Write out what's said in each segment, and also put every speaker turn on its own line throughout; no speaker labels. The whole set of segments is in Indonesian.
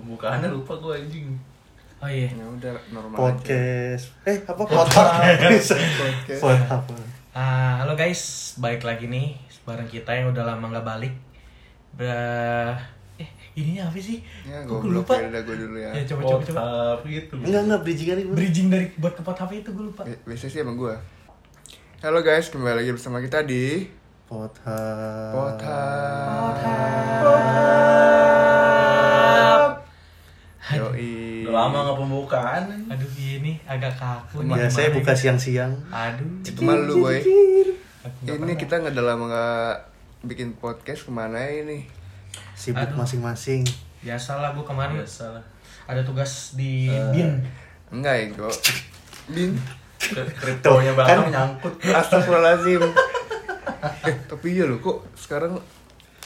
Pembukaannya lupa gue anjing.
Oh iya.
Ya udah normal
podcast eh apa podcast
Podcast.
Pod apa
Ah, halo guys, balik lagi nih bareng kita yang udah lama nggak balik. Ber eh ininya apa sih?
aja. Ya
Kok
gue
gua lupa.
lupa. Ya udah gue dulu ya.
Ya coba coba
Pot
coba.
up gitu.
enggak enggak bridging kali gue
Bridging dari buat ke pot HP itu gue lupa.
Bi- Biasanya sih emang gue. Halo guys, kembali lagi bersama kita di
podcast
Pota. Yoi.
Udah lama nggak pembukaan. anjing.
Aduh ini agak kaku nih.
biasanya
gimana
Iya, buka
nih?
siang-siang
Aduh.
Itu mah lu boy.
aku nggak
Ini
pernah.
kita nggak udah lama nggak bikin podcast kemana ya ini?
sibuk
Aduh.
masing-masing
biasalah Eh. bu kemarin
Biasa lah.
ada tugas di bin.
Enggak ya gue. Bin.
Kri- Kriptonya
kan.
bakal nyangkut.
Astagfirullahaladzim. eh tapi iya lo kok sekarang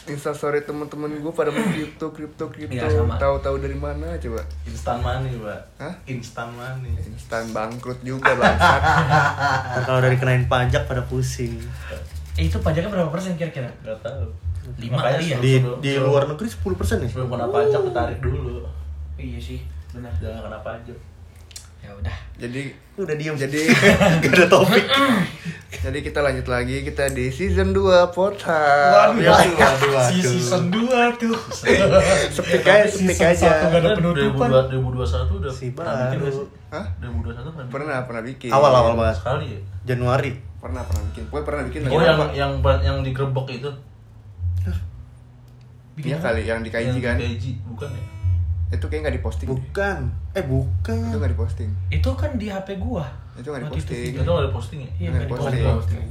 instastory temen-temen gue pada mau kripto kripto kripto
Iya, sama.
tahu-tahu dari mana coba
Instan money, Pak.
Hah?
Instan money.
instan bangkrut juga bangsat
Ntar kalau udah dikenain pajak pada pusing
Eh itu pajaknya berapa persen kira-kira?
Gak tau.
Lima
Makanya
kali ya?
di
sebelum-
di
sebelum-
luar negeri 10% ya
Sebelum kena pajak, ketarik dulu.
Iya sih, benar.
Jangan kena pajak.
Ya udah.
jadi
udah diem
jadi
gak ada topik
jadi kita lanjut lagi kita di season 2 podcast
Waduh,
ya, waduh, waduh.
Si season 2 tuh.
Speak aja,
Season
speak
satu
aja.
kan. nggak ada
Iya,
penutupan.
2022 2021 udah
Si
pernah bikin nggak
baru.
sih?
Hah?
2021 pernah bikin?
pernah pernah bikin
awal-awal banget
sekali ya.
Januari
pernah pernah bikin gue pernah bikin
Oh yang
apa?
yang ba- yang digerebek itu.
Iya kali yang di KJ kan
Kaiji bukan ya?
itu kayak nggak diposting
bukan eh
itu
bukan
nggak diposting
Itu kan di HP gua.
Itu nggak
Waktu
diposting.
video.
Itu nggak ada posting ya?
Iya,
Nggak
nggak
diposting.
diposting.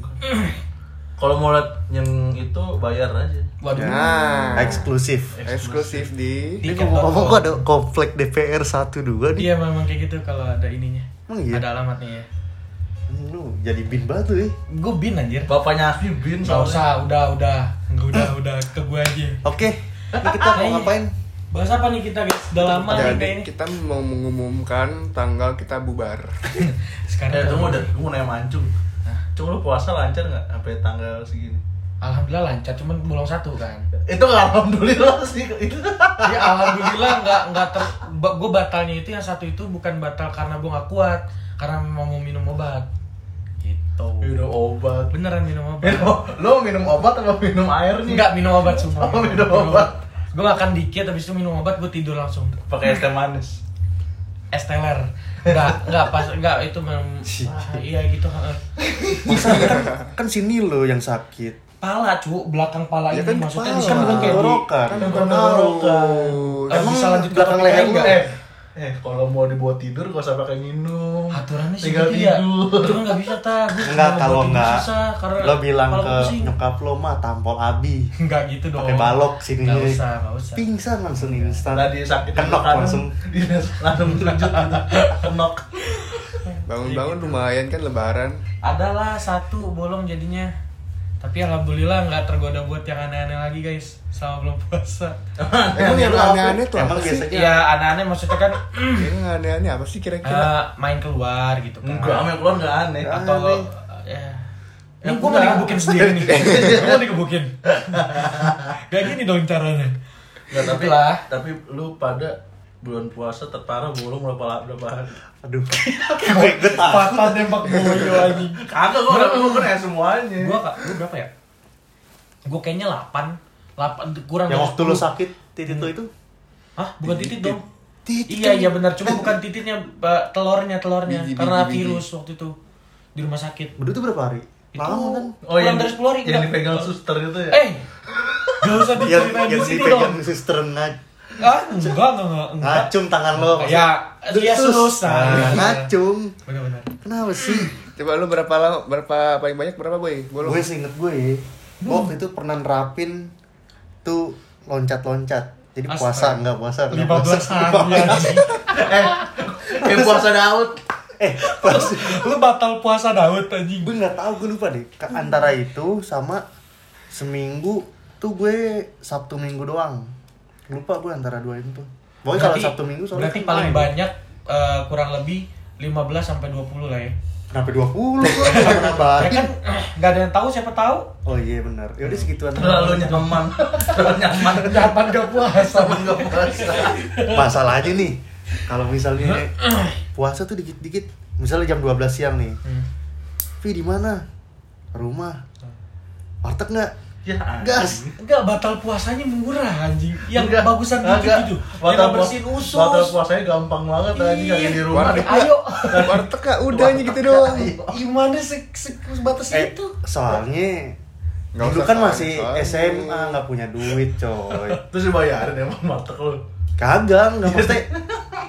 Kalau mau lihat yang itu bayar aja.
Waduh.
nah
eksklusif
eksklusif di
Di-
ini ngomong-ngomong kok ada komplek DPR 12 nih
Dia memang kayak gitu kalau ada ininya.
Emang iya?
Ada alamatnya ya.
Anjing, lu jadi bin batu ya
Gua bin anjir.
Bapaknya Asfi bin
Enggak
soalnya.
usah, udah, udah. Enggak udah, udah ke gua aja.
Oke, ini kita mau ngapain?
Bahas apa nih kita, guys? Udah lama nih
jadi
kayaknya.
kita mau mengumumkan tanggal kita bubar
Sekarang
Eh,
udah-
tunggu deh, gue mau nanya mancung. Cuma lu puasa lancar nggak sampai tanggal segini?
Alhamdulillah lancar, cuman bolong satu kan.
Itu nggak alhamdulillah sih. Itu
ya alhamdulillah nggak nggak ter gue batalnya itu yang satu itu bukan batal karena gue nggak kuat karena mau mau minum obat gitu
minum Ya obat.
beneran minum obat
Minum, lo minum obat apa minum air nih?
nggak minum obat semua
Oh, minum obat.
gue makan dikit habis itu minum obat gue tidur langsung
Pakai es teh manis.
es teler nggak nggak pas nggak itu mem ah, iya gitu heeh.
Kan sini lo yang sakit.
pala cu belakang pala
Ya
ini
kan
maksudnya
kepala.
di kan bukan kayak di
kan
Tenggorokan. Kan
bukan
tenggorokan.
harus
Eh,
Emang
bisa lanjut ke
belakang
topik
leher
lain
lu?
nggak?
Eh, eh kalau mau dibuat tidur gak usah pakai minum.
aturannya sih
Tinggal
gitu ya
tidur.
cuma nggak bisa ta Gua
Enggak
mau
kalau
buat ini
enggak
susah, karena
lo bilang
kepala
ke
gua pusing.
nyokap lo mah tampol abi.
Enggak gitu dong.
Pakai balok sini.
Enggak usah, enggak usah.
Pingsan langsung instan.
Tadi sakit
Kenok
kanan,
langsung.
di langsung sujud kenok.
bangun-bangun lumayan kan lebaran
Adalah satu bolong jadinya. Tapi alhamdulillah nggak tergoda buat yang aneh-aneh lagi guys. Sama belum puasa.
emang yang aneh-aneh tuh apa
Emang
sih
biasanya
Ya aneh-aneh maksudnya kan
yang aneh-aneh apa sih kira-kira
eh, main keluar gitu kan.
Enggak, sama yang keluar enggak aneh.
Atau
aneh.
eh, ya. Ini gue mau digebukin sendiri nih. gue mau digebukin. Gak gini dong caranya.
Enggak, tapi
Lah.
tapi lu pada bulan puasa terparah bolong berapa berapa hari?
aduh. Gue gue takut.
Patah tembak boyo anjing.
Kagak gua udah gua kena semuanya.
Gue kak, gua berapa ya? Gue kayaknya 8 8 kurang
Yang
dari
waktu lo
10.
sakit
Hmm.
titit lo itu?
Hah, bukan titit, dong.
Titit.
Iya,
kan?
iya benar, cuma bukan tititnya, ba- telurnya, telurnya.
Biji, biji,
Karena
biji.
virus waktu itu di rumah sakit.
Bedu tuh berapa hari?
Itu
Lama kan?
Oh, yang,
dari 10 hari.
yang
enggak.
dipegang suster itu ya?
Eh. Gak usah
Yang
diceritain di
yang
situ dong.
dipegang suster nga-
Ah, enggak, enggak, enggak. enggak.
ngacung tangan lo.
Ya, iya
Sus. Nah,
susah.
Ngacung.
Benar-benar.
Kenapa sih?
coba lu berapa lama berapa paling banyak berapa boy bolong
gue seinget gue ya, waktu itu pernah nerapin tuh loncat-loncat jadi
Astaga.
puasa nggak puasa nggak
15
puasa
hari anjing.
Kayak puasa Daud.
eh pas
Lu batal puasa Daud anjing.
gue nggak tahu gue lupa deh Ka- antara itu sama seminggu tuh gue sabtu minggu doang lupa gue antara dua itu pokoknya kalau
Berarti-
sabtu minggu soalnya
Berarti
kan
paling
main.
banyak eh, kurang lebih 15 sampai 20 lah ya.
Kenapa 20 gua? Nggak
Ah,
Ya
pernah
iya.
batin.
kan nggak ada yang tahu siapa tahu.
Oh iya benar. Yaudah segituan.
terlalu nyaman terlalu nyaman
Dapat gak puasa.
sama nggak puasa
Masalahnya nih, kalau misalnya puasa tuh dikit-dikit, misalnya jam 12 siang nih.
Hmm.
Vi di mana? Rumah. Warteg nggak?
ya anjing.
Gas.
Enggak batal puasanya murah anjing. Yang
Enggak.
bagusan gitu
Enggak.
gitu.
Batal
Yang
puas-
bersihin usus.
batal puasanya gampang banget anjing
Iya.
lagi di rumah
Warteg.
Ayo.
warteg kak udahnya gitu doang
Gimana se, se batas
Eh,
itu?
soalnya
Nggak
dulu
usah
kan
soalnya,
masih
soalnya.
SMA nggak punya duit coy
terus dibayarin emang warteg lu
kagak nggak maksudnya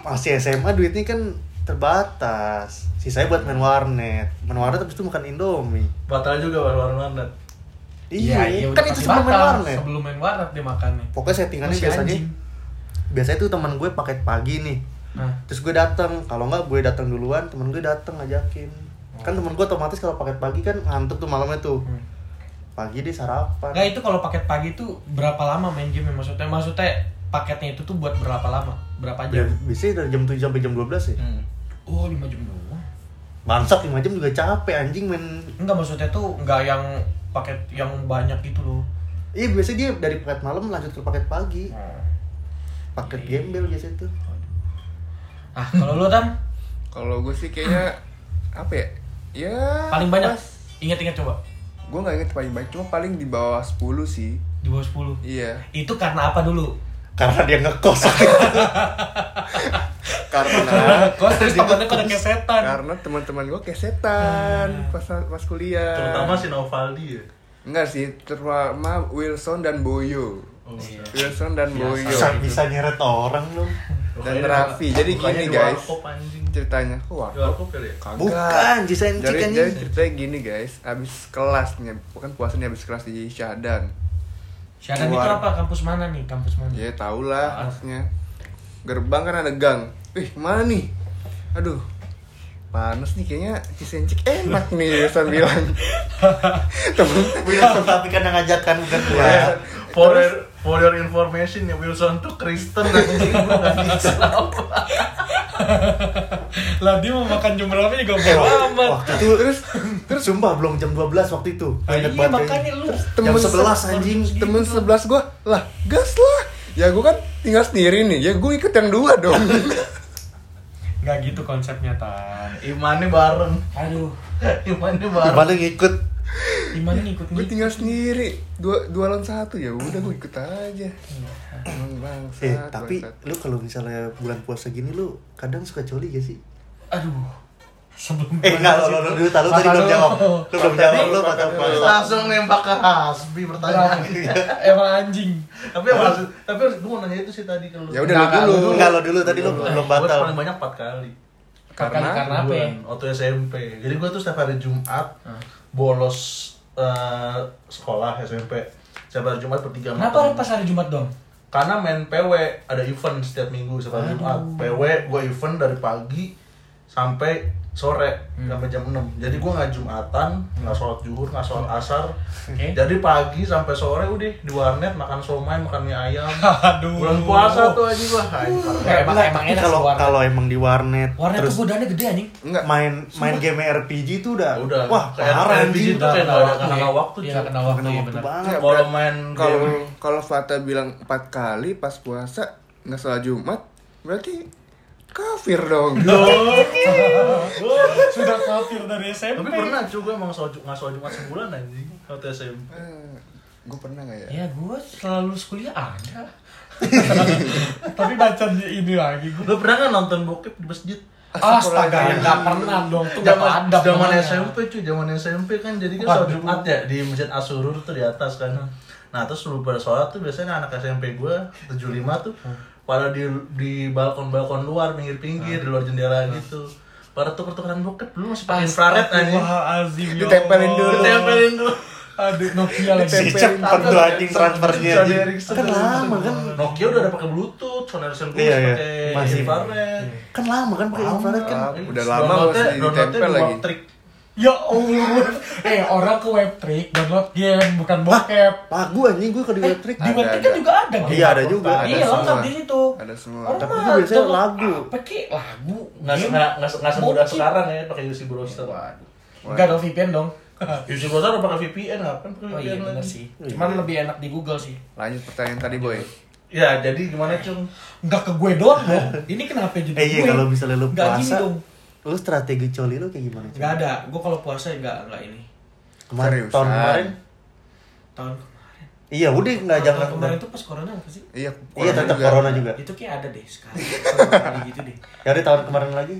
masih SMA duitnya kan terbatas sisanya buat main warnet main warnet habis itu makan indomie
batal juga warung warnet
Iya,
iya,
kan itu cuma main warnet
Sebelum main warnet dia makannya.
pokoknya settingannya
Masih
biasanya
anjing.
biasanya tuh teman gue paket pagi nih
Nah,
terus gue datang kalau nggak gue datang duluan temen gue datang ngajakin kan temen gue otomatis kalau paket pagi kan ngantuk tuh malamnya tuh
Hmm.
pagi dia sarapan
Enggak itu kalau paket pagi tuh berapa lama main game maksudnya? Maksudnya paketnya itu tuh buat berapa lama? Berapa
Ya,
jam?
biasanya dari jam 7 sampai jam 12 ya
Hmm.
Oh, 5 jam doang.
bangsat 5 jam juga capek anjing main
Enggak maksudnya tuh enggak yang paket yang banyak gitu loh.
iya biasanya dia dari paket malam lanjut ke paket pagi
Oh.
paket
Iya.
gembel biasanya tuh
Ah, kalau lu Tam
kalau gue sih kayaknya apa ya ya
paling banyak
pas-
ingat-ingat coba
gue nggak inget paling banyak cuma paling di bawah 10 sih
di bawah 10.
iya
Itu karena apa dulu?
karena dia ngekos
Iya,
karena
Kok terus temennya kok ada kesetan. Hmm.
karena teman-teman gue kesetan pas pas kuliah
terutama si Novaldi ya
enggak sih terutama Wilson dan Boyo
Oh, iya.
Wilson dan
Biasa.
Boyo
bisa bisa nyeret orang lu
Bukannya
Raffi. Jadi
bukannya
gini,
di
guys.
warkop, anjing.
ceritanya kok
Di
warkop
warkop kali ya
Kagak.
Bukan, jisain
jadi,
chicken
jadi
ini.
ceritanya gini guys abis kelas nih bukan puasa nih abis kelas di Syahdan
Syahadan itu
Keluar.
apa? Kampus mana nih? Kampus mana?
Iya.
ya tau
Ah.
lah maksudnya gerbang kan ada gang ih mana nih aduh panas nih kayaknya cisencik enak nih Wilson bilang temen
Wilson tapi kan yang ngajak kan bukan gua
Iya.
Iya.
For your, for your information ya Wilson tuh Kristen anjing bukan Islam.
lah dia mau makan jam berapa juga
Eh,
bodo amat.
waktu itu terus terus sumpah belum jam 12 waktu itu
Ah,
Ingat
Iya
banget
makanya
kayaknya.
lu
jam 11 anjing
se- temen 11 gua lah gas lah ya gua kan tinggal sendiri nih ya gua ikut yang dua dong
nggak gitu konsepnya tan.
Imannya bareng
Aduh,
Imannya bareng
gimana ngikut
gimana nih ikut
gua
nih?
tinggal sendiri dua dua lawan satu ya udah gua ikut aja Emang bangsat,
eh tapi
bangsat.
lu kalau misalnya bulan puasa gini lu kadang suka coli gak sih
Aduh, sebelum
eh enggak lu lu lu- lu tahu lu tadi
Makan
belum
lu.
jawab lu belum jawab lu
Makan
kata
lu.
puasa
langsung nembak ke Hasbi pertanyaan
emang anjing.
tapi emang harus tapi harus gue mau nanya itu sih tadi ke lu
Ya udah, lu
Nah,
dulu.
lu
Enggak, lu dulu, tadi lu
Gua
belum batal.
paling banyak 4 kali
Karena
karena
karena apa? ya?
Bulan, waktu SMP jadi gue tuh setiap hari Jumat bolos eh, sekolah SMP setiap hari Jumat bertiga sama
Kenapa
temen.
lu pas hari Jumat dong?
karena main PW ada event setiap minggu setiap
Ah.
hari Jumat PW gue event dari pagi sampai sore
Hmm.
sampai jam 6 jadi gue nggak jumatan nggak sholat juhur nggak sholat asar
Hmm. Oke.
jadi pagi sampai sore udah di warnet makan somai makan mie ayam
Aduh. Uh.
bulan puasa tuh aja gue
Kayak emang
Enggak,
emang
tapi
enak
kalau
sih warnet.
kalau emang di warnet
Warnet
terus
tuh godaannya gede anjing.
enggak
main main game RPG itu udah,
udah
wah parah
kayak biji tuh kayak
anjing
nggak
Udah,
ada-
nggak
nggak
kena
kena waktu
Iya,
cuy.
nggak kena waktu,
Kena
iya
waktu
benar.
banget
Enggak,
kalau
berat.
main
kalau
game
kalau Fata bilang empat kali pas puasa nggak salah Jumat berarti kafir dong
Sudah kafir dari SMP.
tapi pernah juga emang sholat Ju- nggak sholat jumat sebulan anjing waktu SMP
Hmm.
gue pernah nggak ya
Ya gue selalu lulus kuliah ada. Tapi baca ini lagi gue.
lu pernah nggak nonton bokep di masjid
Astaga, nggak pernah dong. Tuh nggak
zaman
ada.
zaman
namanya.
SMP cuy, zaman SMP kan jadi kan
Waduh.
sholat Jumat ya di Masjid Asurur tuh di atas kan. Nah, terus lu pada sholat tuh biasanya anak SMP gua 75 tuh pada di di balkon-balkon luar pinggir-pinggir di luar jendela gitu. Pada tuker-tukeran bokep dulu masih pakai infrared anjing.
Astagfirullahaladzim, ya
Ditempelin
Allah.
dulu.
Tempelin dulu.
Aduh, Nokia lagi.
Si cepet tuh anjing transfernya
Sony
anjing.
Ericsson.
kan lama kan
Nokia udah ada pakai Bluetooth, Sony Ericsson gua
Iya,
masih
iya.
pakai
Masih.
infrared.
kan lama kan pakai infrared kan
Udah lama
Iya. Downloadnya-
masih
downloadnya
ditempel
di
lagi.
Baptrik.
Ya Allah, eh orang ke web trick download game bukan bokep.
Pak gua anjing gua kalau di web trick.
Di web trick kan
ada.
juga ada game.
Iya, ada juga.
Iya
Ada
lengkap
semua.
di situ.
Ada semua.
Orang
Tapi
mah
gua biasanya
download
lagu.
Apa kek? Lagu.
nggak se-
game.
nggak nggak se- nggak semudah
Bokep.
sekarang ya pakai UC browser
Waduh.
Nggak ada VPN dong.
UC browser udah pakai VPN ngapain pakai
Oh iya
VPN
benar
lagi?
sih. Cuman lebih enak di Google sih.
Lanjut pertanyaan tadi boy.
ya jadi gimana cung
Nggak ke gue doang dong. Ini kenapa jadi
Eh iya
gue?
kalau misalnya lu
Nggak gini
puasa.
dong.
Lu strategi coli lu kayak gimana? Cik?
Nggak ada. Gue kalau puasa nggak nggak ini.
Kemarin
Seriusan.
tahun kemarin.
Tahun kemarin.
Iya, udah enggak
Tahun
jangan.
kemarin tuh pas corona apa sih?
Iya,
Iya, tetap corona juga.
Itu kayak ada deh sekali. Tahun kemarin gitu deh.
Ya udah tahun kemarin lagi.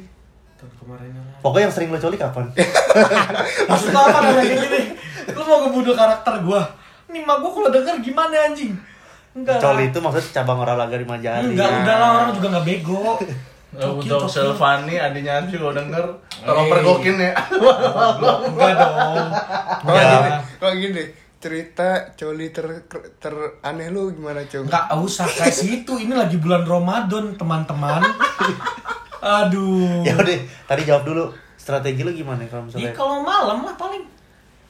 Tahun kemarin yang lalu.
Pokoknya yang sering lo coli kapan?
Maksud lu apa nanya kayak gini? Lu mau ngebunuh karakter gua? Nih mak gua kalau denger gimana anjing? Enggak. lah.
coli itu maksudnya cabang olahraga lima jari.
Enggak, udah lah orang juga enggak bego. Coki,
Eh, untuk
coki.
Selvani adiknya Anju kalau denger tolong
Hey.
pergokin ya
Enggak dong.
Kalau
Enggak.
gini, kalau gini cerita coli ter ter aneh lu gimana cung?
Enggak usah kayak situ. Ini lagi bulan Ramadan, teman-teman. Aduh.
Ya udah, tadi jawab dulu. Strategi lu gimana kalau
Ih,
misalnya?
kalau malam lah paling.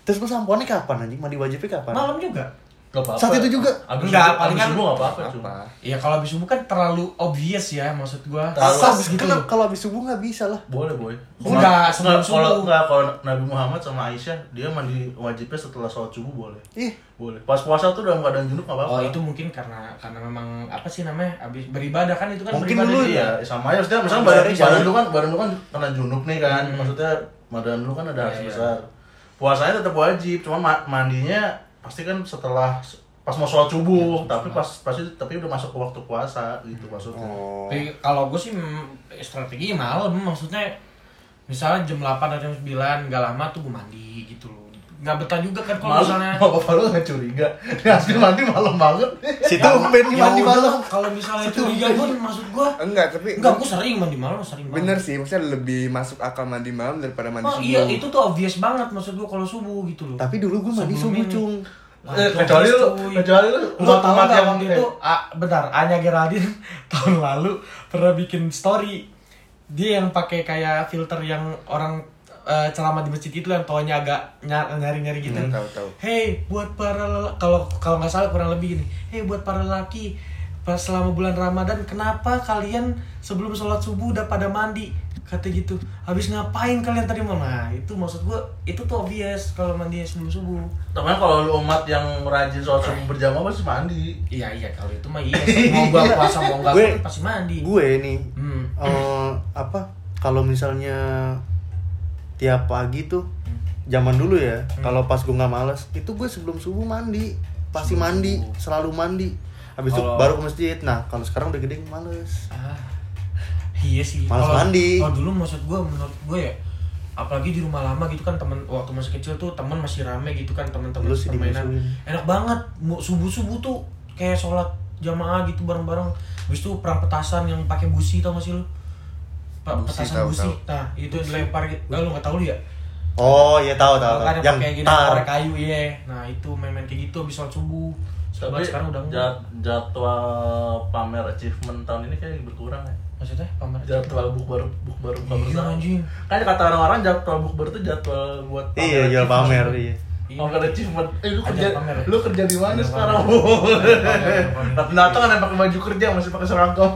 Terus lu sampoannya kapan anjing? Mandi wajibnya kapan?
Malam juga.
Gak apa-apa.
Saat itu juga?
Abis
Nggak,
subuh-
palingan-
abis subuh gak apa-apa cuma.
Apa?
Ya kalau habis subuh kan terlalu obvious ya maksud gua.
Terlalu
Sah
Abis
gitu
kan
loh.
kalau habis subuh nggak bisa lah.
Boleh boy.
Enggak,
Nggak,
sebelum
Kalau
subuh.
nggak kalau Nabi Muhammad sama Aisyah dia mandi wajibnya setelah sholat subuh boleh.
Ih,
Boleh. Pas puasa tuh dalam keadaan junub gak apa-apa.
iya.
Oh itu mungkin karena karena memang apa sih namanya habis beribadah kan itu kan
Mungkin
beribadah
dulu
juga.
ya.
Iya, sama aja maksudnya misalnya badan,
Badannya
badan
jauh.
lu kan badan lu kan kena junub nih kan. Maksudnya badan lu kan ada
Iya,
harus
iya.
besar. Puasanya tetap wajib, cuma ma- mandinya pasti kan setelah pas mau sholat subuh, tapi pas pasti tapi udah masuk ke waktu puasa gitu maksudnya.
Oh.
Tapi kalau gue sih mm, strategi malam maksudnya misalnya jam 8 atau jam 9 gak lama tuh gue mandi gitu loh. Gak betah juga kan kalau
Malu,
misalnya
bapak lu nggak curiga. Ini asli mandi malam banget.
si tumben nih
Ya
mandi
udah,
malam.
Kalau misalnya curiga gue maksud gue
Enggak, tapi
enggak gue sering mandi malam sering banget.
bener sih, maksudnya lebih masuk akal mandi malam daripada mandi
Oh
subuh.
iya itu tuh obvious banget maksud gue kalau subuh gitu loh.
Tapi dulu gue mandi
Sebelum
subuh
ini.
cung.
Eh, kecuali lu, kecuali lu
Lu
umat-
tau
umat
nggak
yang-
waktu itu A, bentar Anya Geraldine tahun lalu pernah bikin story dia yang pakai kayak filter yang orang eh, ceramah di masjid itu yang toanya agak nyari nyari gitu.
Hmm, tahu, tahu.
Hey buat para lelaki kalau kalau nggak salah kurang lebih gini. Hey buat para lelaki pas selama bulan Ramadan kenapa kalian sebelum sholat subuh udah pada mandi kata gitu habis ngapain kalian tadi mau nah itu maksud gua itu tuh obvious kalau mandi sebelum subuh
Temen kalau lu umat yang rajin sholat subuh berjamaah pasti mandi.
Iya iya kalau itu mah iya mau gua puasa mau enggak
Gue-
kan pasti mandi.
Gue nih
Hmm.
eh, apa kalau misalnya tiap pagi tuh zaman dulu ya
Hmm.
kalau pas gue nggak malas itu gue sebelum subuh mandi pasti mandi selalu mandi habis itu
Kalau-
baru ke masjid nah kalau sekarang udah gede males
Ah, iya sih.
Malas
Kalau-
mandi.
Kalau dulu maksud gue menurut gue ya apalagi di rumah lama gitu kan temen waktu masih kecil tuh temen masih rame gitu kan temen-temen
Lu sih
permainan
dimusuhin.
enak banget subuh subuh tuh kayak sholat jamaah gitu bareng-bareng habis itu perang petasan yang pakai busi tau gak sih lu Pak
Busi,
petasan
tahu,
busi
tahu.
nah itu dilempar gitu Eh, lu nggak tahu lu ya
oh iya tahu tahu tahu.
kan yang
yang
pakai gini
tar
korek kayu iya nah itu main-main kayak gitu habis sholat subuh
Tapi
Sekarang sekarang udah enggak
jad- jadwal pamer achievement tahun ini kayak berkurang ya.
maksudnya pamer
Jadwal bukber bukber buka
Iya,
bersama.
anjing.
Kan kata orang-orang jadwal bukber tuh jadwal buat
iya iya
achievement.
pamer iya
Pamer achievement. Eh lu
Ajang
kerja
pamer ya?
lu kerja di mana
Ajang
sekarang?
pamer. Ajang pamer, ajang pamer.
Tapi datang kan yang pakai baju kerja masih pakai seragam.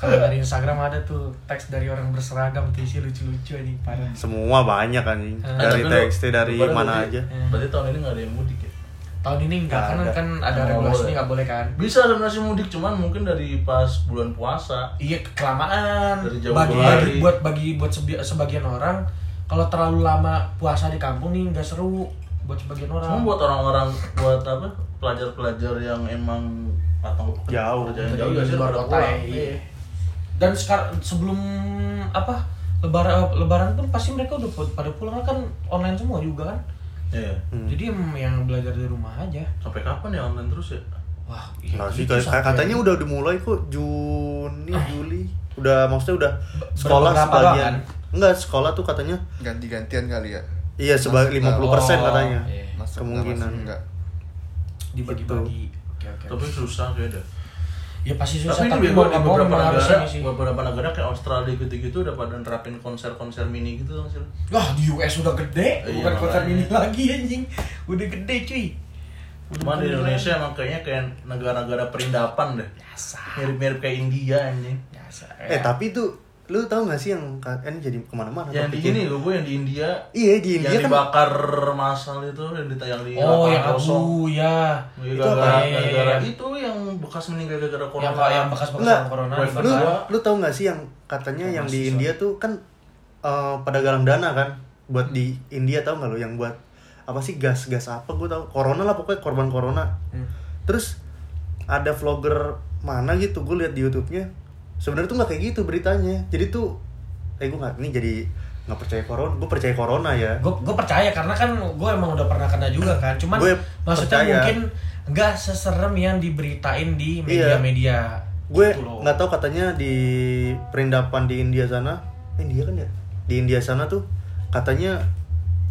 Kalau dari Instagram ada tuh teks dari orang berseragam tuh isi lucu-lucu anjing parah.
semua banyak kan
Eh,
Tapi
dari
lu-
TXT dari
berarti-
mana
iya.
aja
Berarti tahun ini nggak ada yang mudik ya?
Tahun ini
Nggak
enggak kan
ada.
kan ada
Nggak
regulasi
boleh.
nggak boleh kan?
Bisa sebenarnya sih mudik, cuman mungkin dari pas bulan puasa.
Iya kelamaan.
Dari jauh
Bagi,
hari.
bagi buat bagi buat sebi- sebagian orang kalau terlalu lama puasa di kampung nih nggak seru buat sebagian
Cuma
orang.
buat orang-orang buat apa? Pelajar-pelajar yang emang atau
Jauh.
kerjaan
Jadi
jauh ya sih
luar
pada
kota ya,
pulang.
iya. Dan sekarang sebelum apa lebaran lebaran pun pasti mereka udah pu- pada pulang kan online semua juga kan.
Iya.
Hmm.
Jadi em- yang belajar di rumah aja.
Sampai kapan ya online terus ya?
Wah,
Nah, sih
gitu
kayak-
sampai- Ah.
katanya udah dimulai kok Juni, Juli. Udah maksudnya udah sekolah
berapa
sebagian.
doang kan?
Enggak, sekolah tuh katanya
Ganti-gantian kali ya.
iya sebagai 50%
Oh,
katanya.
iya.
Masuk
Kemungkinan.
enggak?
dibagi-bagi. Oke oke.
Tapi susah kayaknya.
ya pasti susah
Tapi
tapi,
ini
mau
bego di
nggak mau
beberapa
memang harus
negara,
ini sih
beberapa negara kayak Australia gitu-gitu udah pada nerapin konser-konser mini gitu kan sih.
Wah di US udah gede,
Iya,
bukan konser
makanya.
ini lagi anjing Udah gede cuy
Cuman
Iya.
di Indonesia emang kayaknya kayak negara-negara perindapan deh.
Biasa
Mirip-mirip kayak India anjing.
Biasa ya.
Eh tapi itu lu tahu gak sih yang ka- eh, ini jadi kemana-mana?
Yang di
topiknya.
sini gue yang di India
Iya di India
yang
kan
dibakar masal itu yang ditayang di
Oh
lapangan
yang
kosong.
abu ya
Iya,
Itu
gara-gara
apa? Iya, iya,
gara-gara
iya.
itu yang bekas meninggal gara-gara corona.
Yang, yang bekas
Enggak.
bekas corona
Wave
bukan
lu
kedua.
lu tahu nggak sih yang katanya yang di India tuh kan eh, pada galang dana kan
Hmm.
buat di India tahu nggak lu yang buat apa sih gas gas apa gue tahu corona lah pokoknya korban corona
Hmm.
terus ada vlogger mana gitu gue lihat di YouTube-nya sebenarnya tuh nggak kayak gitu beritanya jadi tuh eh gue nggak ini jadi nggak percaya corona gue percaya corona ya
gue gue percaya karena kan gue emang udah pernah kena juga kan cuman
Gue
maksudnya
percaya.
mungkin nggak seserem yang diberitain di
Iya.
media-media
gue
gitu loh.
nggak tahu katanya di perindapan di India sana eh, India kan ya di India sana tuh katanya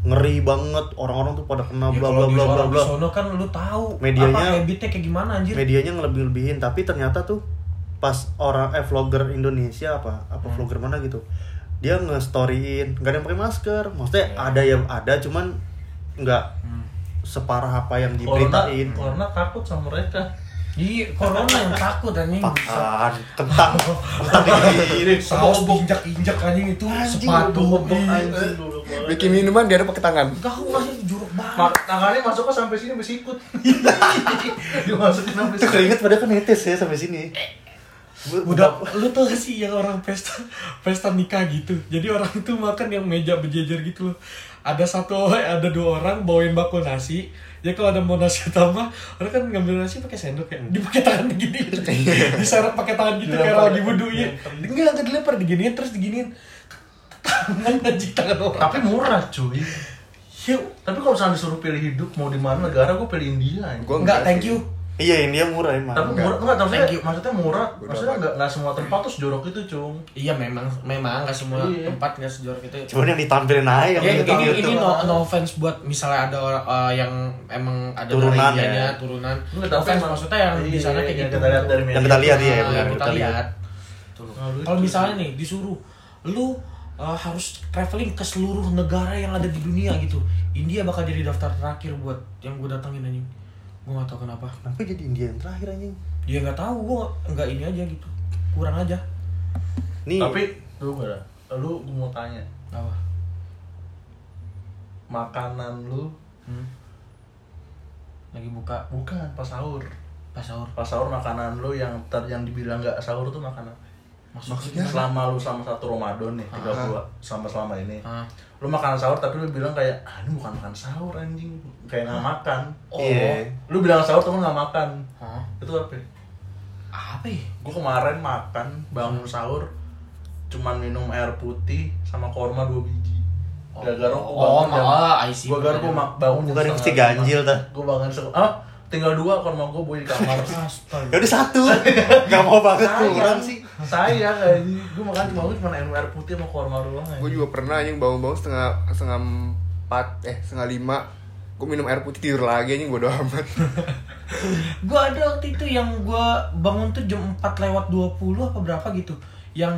ngeri banget orang-orang tuh pada kena
Ya,
bla
kalau
bla
di
bla
sono-
bla
di
bla
sono kan lu tahu
Medianya-
apa habitnya kayak gimana anjir
medianya ngelebih lebihin tapi ternyata tuh pas orang eh vlogger Indonesia apa apa
Hmm.
vlogger mana gitu dia nge-storyin nggak ada yang pakai masker maksudnya
Iya.
ada yang ada cuman nggak
Hmm.
separah apa yang
corona,
diberitain
corona takut sama mereka.
Iya, corona yang takut anjing.
Apaan? kentang kentang
Mirip
Saus diinjak-injak anjing itu sepatu iya.
anjing dulu.
Bikin minuman dia ada pakai tangan.
Enggak aku masih jorok banget.
Mak- tangannya masuknya sampai sini bersikut. Dimasukin sampai
itu
sini.
keringet padahal kan netes ya sampai sini Gua-
Udah, lu tau gak sih yang orang pesta pesta nikah gitu. Jadi orang itu makan yang meja berjejer gitu loh. Ada satu ada dua orang bawain bakul nasi. Ya kalau ada mau nasi tambah, orang kan ngambil nasi pakai sendok ya. Dipakai tangan begini. Diseret pakai tangan gitu kayak
Dilempar.
lagi wudu ya. Enggak, enggak dilempar diginiin terus diginiin. Tangan anjing tangan orang.
Tapi murah cuy.
Ya,
Tapi kalau misalnya disuruh pilih hidup mau di mana negara gue pilih India. anjing.
Gua
enggak thank
sih.
you.
Iya India murah emang.
Tapi
Enggak.
murah, enggak, maksudnya,
Thank you.
maksudnya murah, maksudnya
amat.
enggak, enggak semua tempat tuh sejorok itu, Cung.
Iya memang, memang nggak semua
Iya.
tempat nggak gitu ya. sejorok itu.
Cuman yang ditampilin aja yang
Ya,
di
ini
YouTube.
ini no, no offense buat misalnya ada orang eh, yang emang ada
Turunan
dari
ya.
Indianya, turunan.
Lu
No offense maksudnya kan? yang di sana kayak gitu.
Kita lihat dari media.
Yang kita lihat iya
Nah,
ya benar
yang kita lihat. Tuh loh.
Nah, lucu
Kalau misalnya nih disuruh lu eh, harus traveling ke seluruh negara yang ada di dunia gitu. India bakal jadi daftar terakhir buat yang gue datangin anjing. Gue gak tau kenapa.
Kenapa jadi India yang terakhir anjing?
Dia nggak tahu gue nggak ini aja gitu. Kurang aja. Iya.
Nih.
Tapi lu pada lu gua mau tanya,
Apa?
makanan lu
Hmm. Lagi buka
bukan pas sahur.
pas sahur.
Pas sahur makanan lu yang ter yang dibilang nggak sahur tuh makanan.
Maksudnya?
Selama lu sama satu Ramadan nih, 30 sama selama ini.
Ah.
Lu makanan sahur tapi lu bilang kayak, "Ah, ini bukan makan sahur anjing, kayak nggak makan."
Oh.
Iya.
Lu bilang sahur temen nggak makan.
Hah?
Itu apa? ya?
Apa ya?
gue kemarin makan bangun sahur cuman minum air putih sama korma dua biji gara-gara gue
Oh,
bangun
malah I see.
gue gara gue bangun
Bukan yang mesti ganjil dah.
gue bangun se- ah tinggal dua korma gue boy di kamar
Ya
Astaga.
udah satu. Gak mau banget
sayang
kurang sih.
sih sayang anjing gue makan cuma gue cuma minum air putih sama korma doang anjing.
Gue juga pernah anjing bangun-bangun setengah setengah empat eh setengah lima. Gue minum air putih tidur lagi anjing bodo amat.
Gue ada waktu itu yang gue bangun tuh jam 4 lewat 20 apa berapa gitu. Yang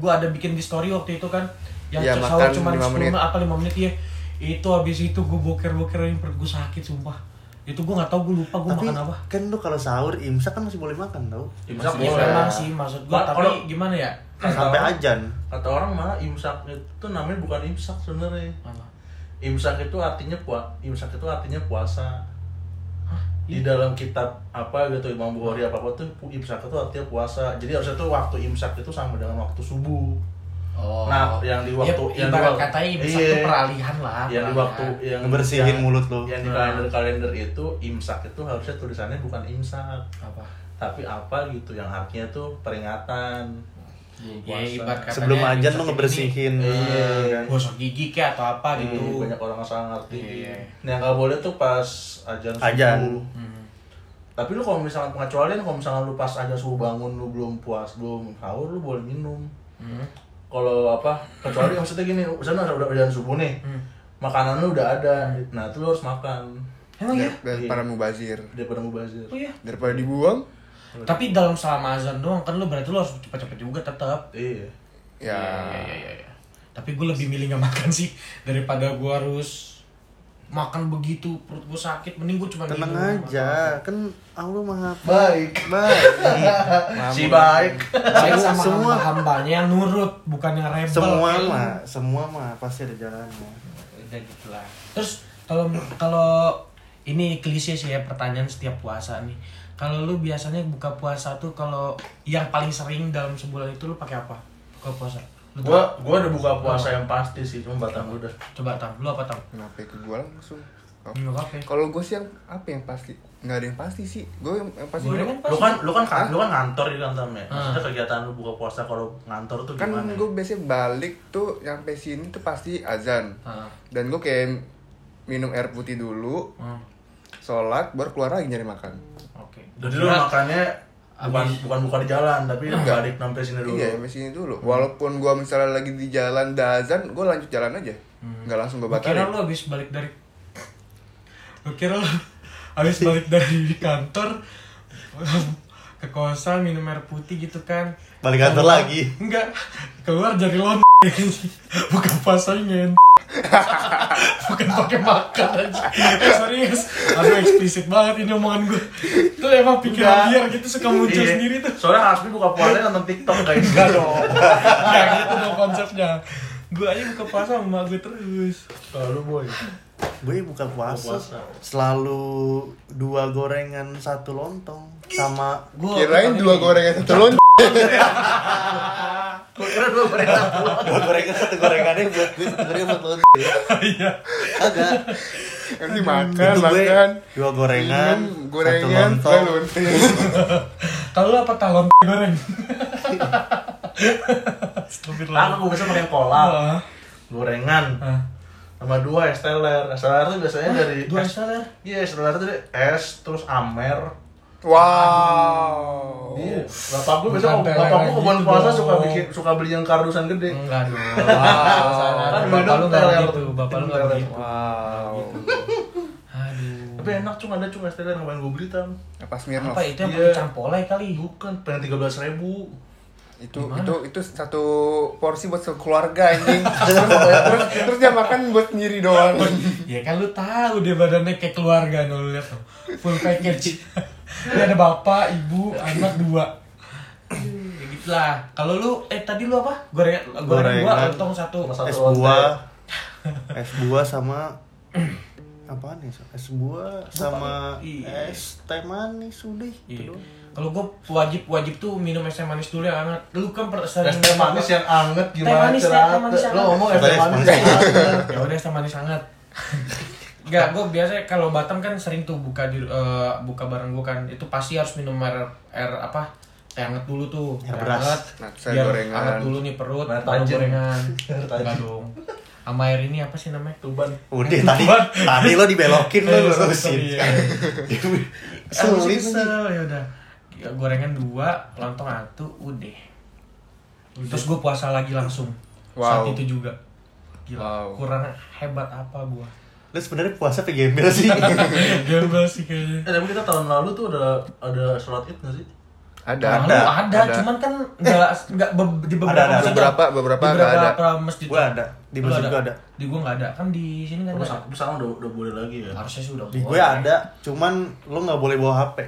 gue ada bikin di story waktu itu kan. Yang
Iya,
sahur
makan
cuma
lima
10
menit.
menit. apa 5 menit ya. Itu habis itu gue boker-boker yang perut gue sakit sumpah. Itu gue gak tau gue lupa gue
Tapi
makan apa.
kan lu kalau sahur imsak kan masih boleh makan tau.
imsak
Maksudnya
Ya, boleh.
memang sih maksud gue.
Ma- kalau-
Tapi gimana ya?
Kata
Sampai
orang-
ajan.
kata orang malah imsak itu namanya bukan imsak sebenarnya
Apa?
imsak itu artinya pua imsak itu artinya puasa di dalam kitab apa gitu Imam Bukhari apa apa tuh pu- imsak itu artinya puasa jadi harusnya tuh waktu imsak itu sama dengan waktu subuh
Oh.
Nah, yang di waktu-
ya,
yang di
ibarat
waktu-
katanya bisa
Iya.
itu peralihan lah.
yang di
peralihan.
waktu yang
Ngebersihin
yang-
mulut lo.
yang di kalender kalender itu imsak itu harusnya tulisannya bukan imsak
apa?
tapi apa gitu yang artinya tuh peringatan Belum Iya,
Ya
puasa.
ibarat katanya
Sebelum ajan lu
imsak ini-
ngebersihin.
Iya.
kan?
gosok gigi kayak atau apa
Iya,
gitu.
banyak orang nggak salah ngerti
Iya.
nah, yang nggak boleh tuh pas ajan
Ajan.
subuh
Hmm,
Tapi lu kalau misalnya pengecualian kalau misalnya lu pas aja subuh bangun lu belum puas, belum sahur lu boleh minum.
hmm,
Kalau apa? Kecuali maksudnya gini, misalnya udah udah subuh nih.
hmm.
Makanan lu udah ada. Nah, itu lu harus makan
Emang ya?
iya? Daripada mubazir.
daripada mubazir.
Oh ya?
Daripada dibuang,
Tapi dalam selama azan doang kan lu berarti lu harus cepet-cepet juga tetap.
Iya.
Ya.
Iya, iya, iya. Tapi gue lebih milih nggak makan sih daripada gue harus makan begitu perut gue sakit mending gue cuma
Tenang
minum.
aja, kan Allah maha
Baik.
baik.
Si baik.
Baik sama
Semua-
hamba-hambanya yang nurut bukan yang rebel.
semua
Kayak lu.
mah, semua mah pasti ada jalannya.
udah gitu lah terus kalau kalau ini klise sih ya pertanyaan setiap puasa nih kalau lu biasanya buka puasa tuh kalau yang paling sering dalam sebulan itu lu pakai apa buka puasa lu
Gua gua udah buka puasa yang pasti sih, cuma batal udah.
coba tam lu apa tam
Kenapa ya ke gua langsung? Oh.
nggak apa
Kalau gue sih yang apa yang pasti? Nggak ada yang pasti sih. Gue yang, yang pasti
Gua
gua-
kan
Lu
pasti.
kan lu kan kan- lu kan ngantor di kantor ya. Maksudnya
Hmm.
kegiatan lu buka puasa kalau ngantor tuh
kan
gimana?
ya?
gue biasanya balik tuh nyampe sini tuh pasti azan.
Ah,
Dan gue kayak minum air putih dulu,
hmm,
sholat, baru keluar lagi nyari makan.
oke
Jadi lu makannya bukan
Abis.
bukan buka di jalan, tapi lu
Iya. Enggak.
balik sampai sini dulu.
Iya, sampai sini dulu.
Hmm.
Walaupun gue misalnya lagi di jalan dan azan, gue lanjut jalan aja.
Hmm.
Nggak langsung gue
Gua kira
batalin.
lu habis balik dari Gua kira lu habis balik dari di kantor ke kosan minum air putih gitu kan
Balik kantor
Keluar-
lagi.
enggak keluar dari lon bukan pasangin bukan pakai makan aja eh, serius aduh eksplisit banget ini omongan gue itu emang
Enggak.
pikiran liar gitu suka muncul
Iya.
sendiri tuh
Soalnya Hasbi buka puasa nonton TikTok gitu. guys.
enggak dong enggak gitu dong konsepnya gue aja buka puasa sama gue terus
Kalau lu boy.
Gue buka puasa,
puasa.
selalu dua gorengan satu lontong sama
Gua
Kirain dua gorengan satu lon.
Gua kira lu berita.
dua gorengan satu gorengannya buat gue satu gorengan buat lontong.
iya
Agak.
Nanti makan,
Itu gue
makan.
dua Hmm, gorengan,
Minum,
satu
gorengan,
lontong.
lalu
kalau lu apa talon goreng Astagfirullah.
Aku bisa pakai kolak,
Ah,
gorengan,
ah.
sama dua es teler. Es teler tuh biasanya dari
dua
es-
salah
Iya, es teler tuh dari es terus amer.
Wow.
Iya. Bapak gue biasanya
Oh. Bukan
bapak gue
teler
kebun
gitu
puasa
dong.
suka bikin suka beli yang kardusan gede.
Enggak dong.
Kan
Bapak lu
minum
nggak
teler.
gitu, bapak lu nggak
Minum teler.
gitu.
Wow.
Aduh.
Tapi enak cung ada cung es teler ngapain gue beli tam?
Apa Smirnoff?
Apa ya? itu yang
Iya.
pakai campolai kali?
Bukan, pengen tiga belas ribu.
itu
Gimana?
itu itu satu porsi buat sekeluarga anjing terus, eh, terus, terus dia makan buat sendiri doang
Ya kan lu tahu dia badannya kayak keluarga no, lu lihat tuh. Full package. Dia ada bapak, ibu, anak dua. Ya gitu lah. Kalau lu eh tadi lu apa? Goreng goreng
Gorengan.
dua, lontong satu.
Sama satu
es
lonte.
buah es buah sama apaan ya Sok? es buah sama
Iya.
es teh manis udah
Iya.
itu doang.
Kalau gua wajib wajib tuh minum es teh manis dulu ya hangat. Lu kan per- sering
Es teh manis yang anget
Teh
gimana
manis,
cerah?
teh manis
Lo
anget.
ngomong es teh
Katanya es
manis
manis.
yang anget.
ya udah sama manis hangat Gak, gue biasa kalau Batam kan sering tuh buka di, eh, buka bareng gue kan itu pasti harus minum air air apa teh hangat dulu tuh Teh
Air Ya, beras.
hangat,
Nah, saya
biar
gorengan.
hangat dulu nih perut
Air
baru
tajin.
gorengan
Air tajin.
Enggak dong sama air ini apa sih namanya
Tuban.
udah tadi tadi lo dibelokin lo
Eh, sorry,
lurusin
sorry, ya.
sulit
Habis itu, ya udah Ya, gorengan dua lontong satu udah terus gue puasa lagi langsung
Wow.
saat itu juga gila
Wow.
kurang hebat apa gue
lo sebenarnya puasa apa gembel sih
Gembel sih kayaknya.
Eh tapi kita tahun lalu tuh ada ada sholat id nggak sih?
ada
Ada,
ada,
ada, cuman kan nggak nggak be- di beberapa
Ada, ada.
masjid
Beberapa-
ada.
beberapa
Di
nggak ada.
beberapa masjid
Gua ada. Di
Lu
masjid gua ada.
Di gua nggak ada. Kan di sini kan
Tapi
ada.
sa- tapi sekarang udah udah boleh lagi ya.
Harusnya sih udah
di gue
boleh.
ada cuman lo nggak boleh bawa hp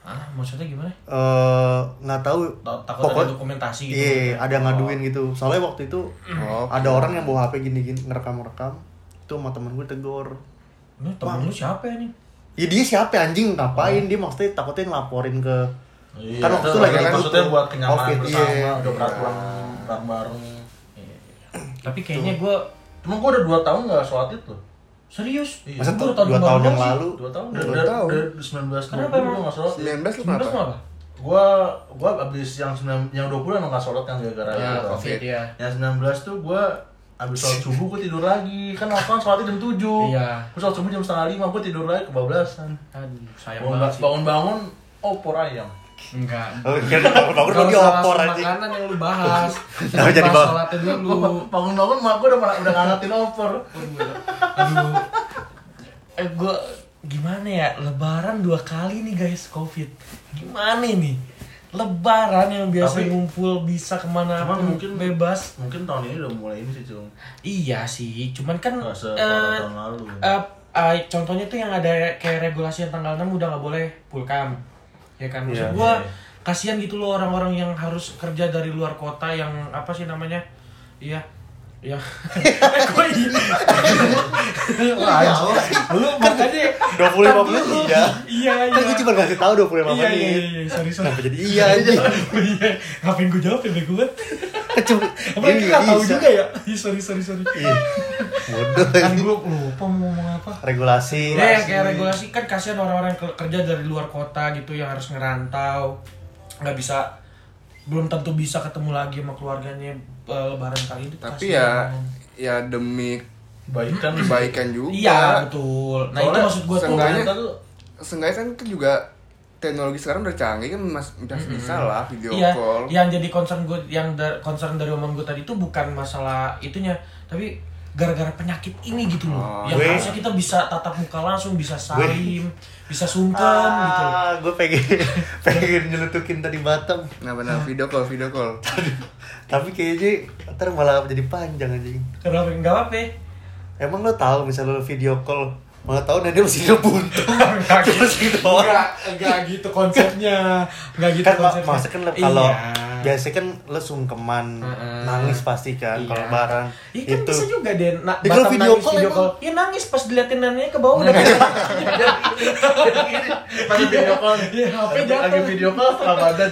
Ah, maksudnya gimana?
Eh, nggak tahu
Ta- Takut
pokok-
ada dokumentasi gitu.
iya ada yang ngaduin gitu soalnya waktu itu
Oh,
ada orang yang bawa hp gini gini ngerekam rekam itu sama temen gue tegor
Ini temen lu siapa ya nih?
Ya dia siapa anjing
Oh.
ngapain dia maksudnya takutnya ngelaporin ke
Iya,
Kan waktu
itu
itu lagi
kan
ditutup.
maksudnya buat kenyamanan
Covid,
bersama,
iya.
udah peraturan bareng-bareng.
Iya, iya. Tapi kayaknya gua
Cuma gua udah 2 tahun enggak sholat itu.
serius.
Iya.
masa
Gua
tuh
baru
dua tahun
baru
yang
sih.
lalu
2 tahun
Dua
udah udah
tahun.
udah 19 tahun
Kenapa
gua
emang?
enggak sholat.
19
19
lu kenapa
apa?
Gua gua abis yang 9 yang 20 emang enggak sholat yang gara-gara
Ya,
itu.
covid ya.
Yang 19 tuh gua abis sholat subuh gua tidur lagi. Kan waktu kan sholat jam 7.
Iya.
Gua sholat subuh jam setengah 5 gua tidur lagi kebablasan.
Aduh, sayang banget sih.
Bangun-bangun opor ayam.
Enggak.
bangun
Gak
lagi
usah
opor
langsung
anjing
Makanan yang lu bahas.
Kenapa jadi
Bahas
bawah?
Sholatnya
Gua
dulu.
ba- bangun-bangun mak gua udah udah nganatin opor.
Aduh. Eh gua gimana ya lebaran dua kali nih guys covid gimana nih lebaran yang biasa
Tapi-
ngumpul bisa kemana
Cuman
pun
mungkin-
bebas
Mungkin tahun ini udah mulai ini sih, Cung.
iya sih cuman kan
Nggak se-
eh,
tahun lalu.
eh, eh, contohnya tuh yang ada kayak regulasi yang tanggal 6 udah nggak boleh pulkam ya kan maksud
Iya.
gua kasihan gitu loh orang-orang yang harus kerja dari luar kota yang apa sih namanya iya iya Eh, gua ini Iya.
Jauh.
lu
Kan
makanya
25 menit,
Lu-
iya.
iya iya
Kan gue cuma ngasih tahu 25
iya iya
menit.
iya sorry sorry
Kenapa jadi iya aja?
Iya, ngapain gue jawab ya bego banget
Kecuma.
Emang kita nggak tahu juga ya? Iya, sorry, sorry, sorry
Iya. Bodoh.
Kan gue lupa mau ngomong apa
Regulasi.
Iya,
Ya, yang kayak regulasi kan kasihan orang-orang yang ke- kerja dari luar kota gitu yang harus ngerantau nggak bisa belum tentu bisa ketemu lagi sama keluarganya eh, lebaran kali itu
tapi
kasihan.
ya ya demi
Baikan sih.
kebaikan juga
iya betul nah itu
Soalnya
maksud gue tuh
seenggaknya-
Pemerintah tuh
Seenggaknya kan kan juga teknologi sekarang udah canggih kan mas udah bisa lah video
Iya,
call
yang jadi concern gue, yang da- concern dari omong gue tadi itu bukan masalah itunya, tapi gara-gara penyakit ini gitu loh.
Oh,
yang
gue-
harusnya kita bisa tatap muka langsung, bisa salim, bisa sungkem gitu. loh.
Ah, gue pengen pengen nyelutukin tadi Batam.
nah benar video call video call
Tapi kayaknya ntar malah jadi panjang anjing.
Kenapa? Enggak apa-apa. ya.
Emang lo tahu misalnya lo video call, malah tahu nanti masih hidup buntu.
Enggak gitu.
Terus gitu
Enggak,
orang.
enggak gitu konsepnya. Enggak gitu
kan ma-
konsepnya.
masa kan lo kalau
Iya.
biasanya kan lo sungkeman,
Mm-mm.
nangis pasti kan kalau
Iya.
lebaran.
Iya kan bisa juga deh. Nah,
Ya, kalau
Batam
video
nangis,
call emang- Iya.
Iya nangis pas diliatin neneknya ke bawah udah.
pas video call
Iya, HP jatuh.
lagi video call setengah badan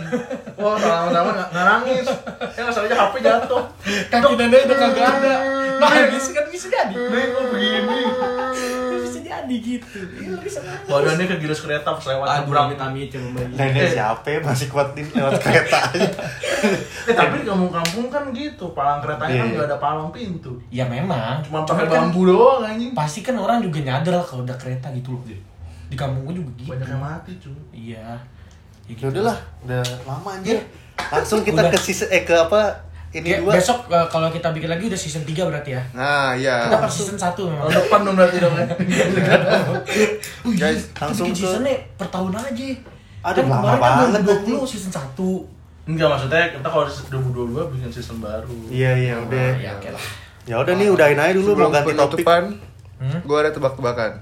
wah lama-lama nggak nggak nangis ya nggak salahnya HP jatuh
kaki nenek udah kagak ada nangis kan bisa jadi
Nah,
nih kok begini
bisa jadi gitu Iya, lu bisa nangis.
badannya ke gilus kereta pas lewat
Aduh,
seberang
amit-amit yang membagi.
Nenek siapa ya masih kuat di lewat kereta aja.
eh, tapi di kampung-kampung kan gitu palang keretanya kan
Iya.
nggak ada palang pintu
ya memang
cuma pakai
kan
bambu doang anjing
pasti kan orang juga nyadar lah kalau udah kereta gitu loh di kampung gua juga gitu
banyak yang mati cuy
iya ya
Ya udahlah, udah lama anjir. Langsung kita
Iya. Udah.
ke sis- eh ke apa?
Ya,
Ini dua.
besok eh, kalau kita bikin lagi udah season 3 berarti ya
nah
kita
Ah.
ya
pas season 1 memang
Tahun depan dong berarti dong ya.
Wih, Oh
Guys,
iya, kita
langsung
bikin
ke-
seasonnya per tahun aja
Aduh, lama
kemarin kan
banget
2020 season 1
Enggak maksudnya kita kalau 2022 bikin season baru.
Iya iya udah.
ya oke lah
Ya udah nih udahin aja dulu mau
sebelum
ganti topik.
penutupan
Hmm?
gua ada tebak-tebakan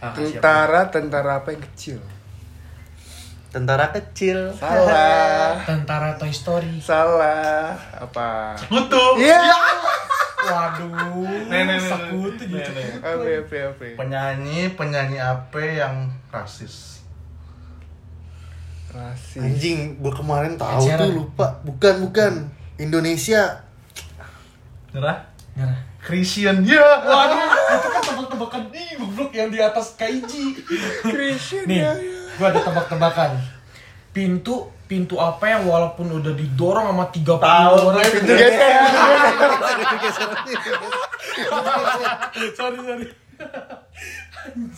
Ah, siap.
tentara tentara apa yang kecil
Tentara kecil.
salah
tentara Toy Story
salah apa
Kutu.
iya
Waduh,
Nenek, nenek,
sekutu
nenek,
gitu.
nenek.
apa apa apa
Penyanyi penyanyi apa yang rasis?
rasis
Anjing, gua kemarin tahu
Ed Sheeran.
tuh lupa. Bukan bukan. Indonesia.
Nyerah?
Nyerah.
Christian ya.
Waduh, itu kan tebak-tebakan nih, goblok yang di atas Kaiji. nih, gua ada tebak-tebakan. Pintu pintu apa yang walaupun udah didorong sama
Tahu,
30 orang
pintu
sorry sorry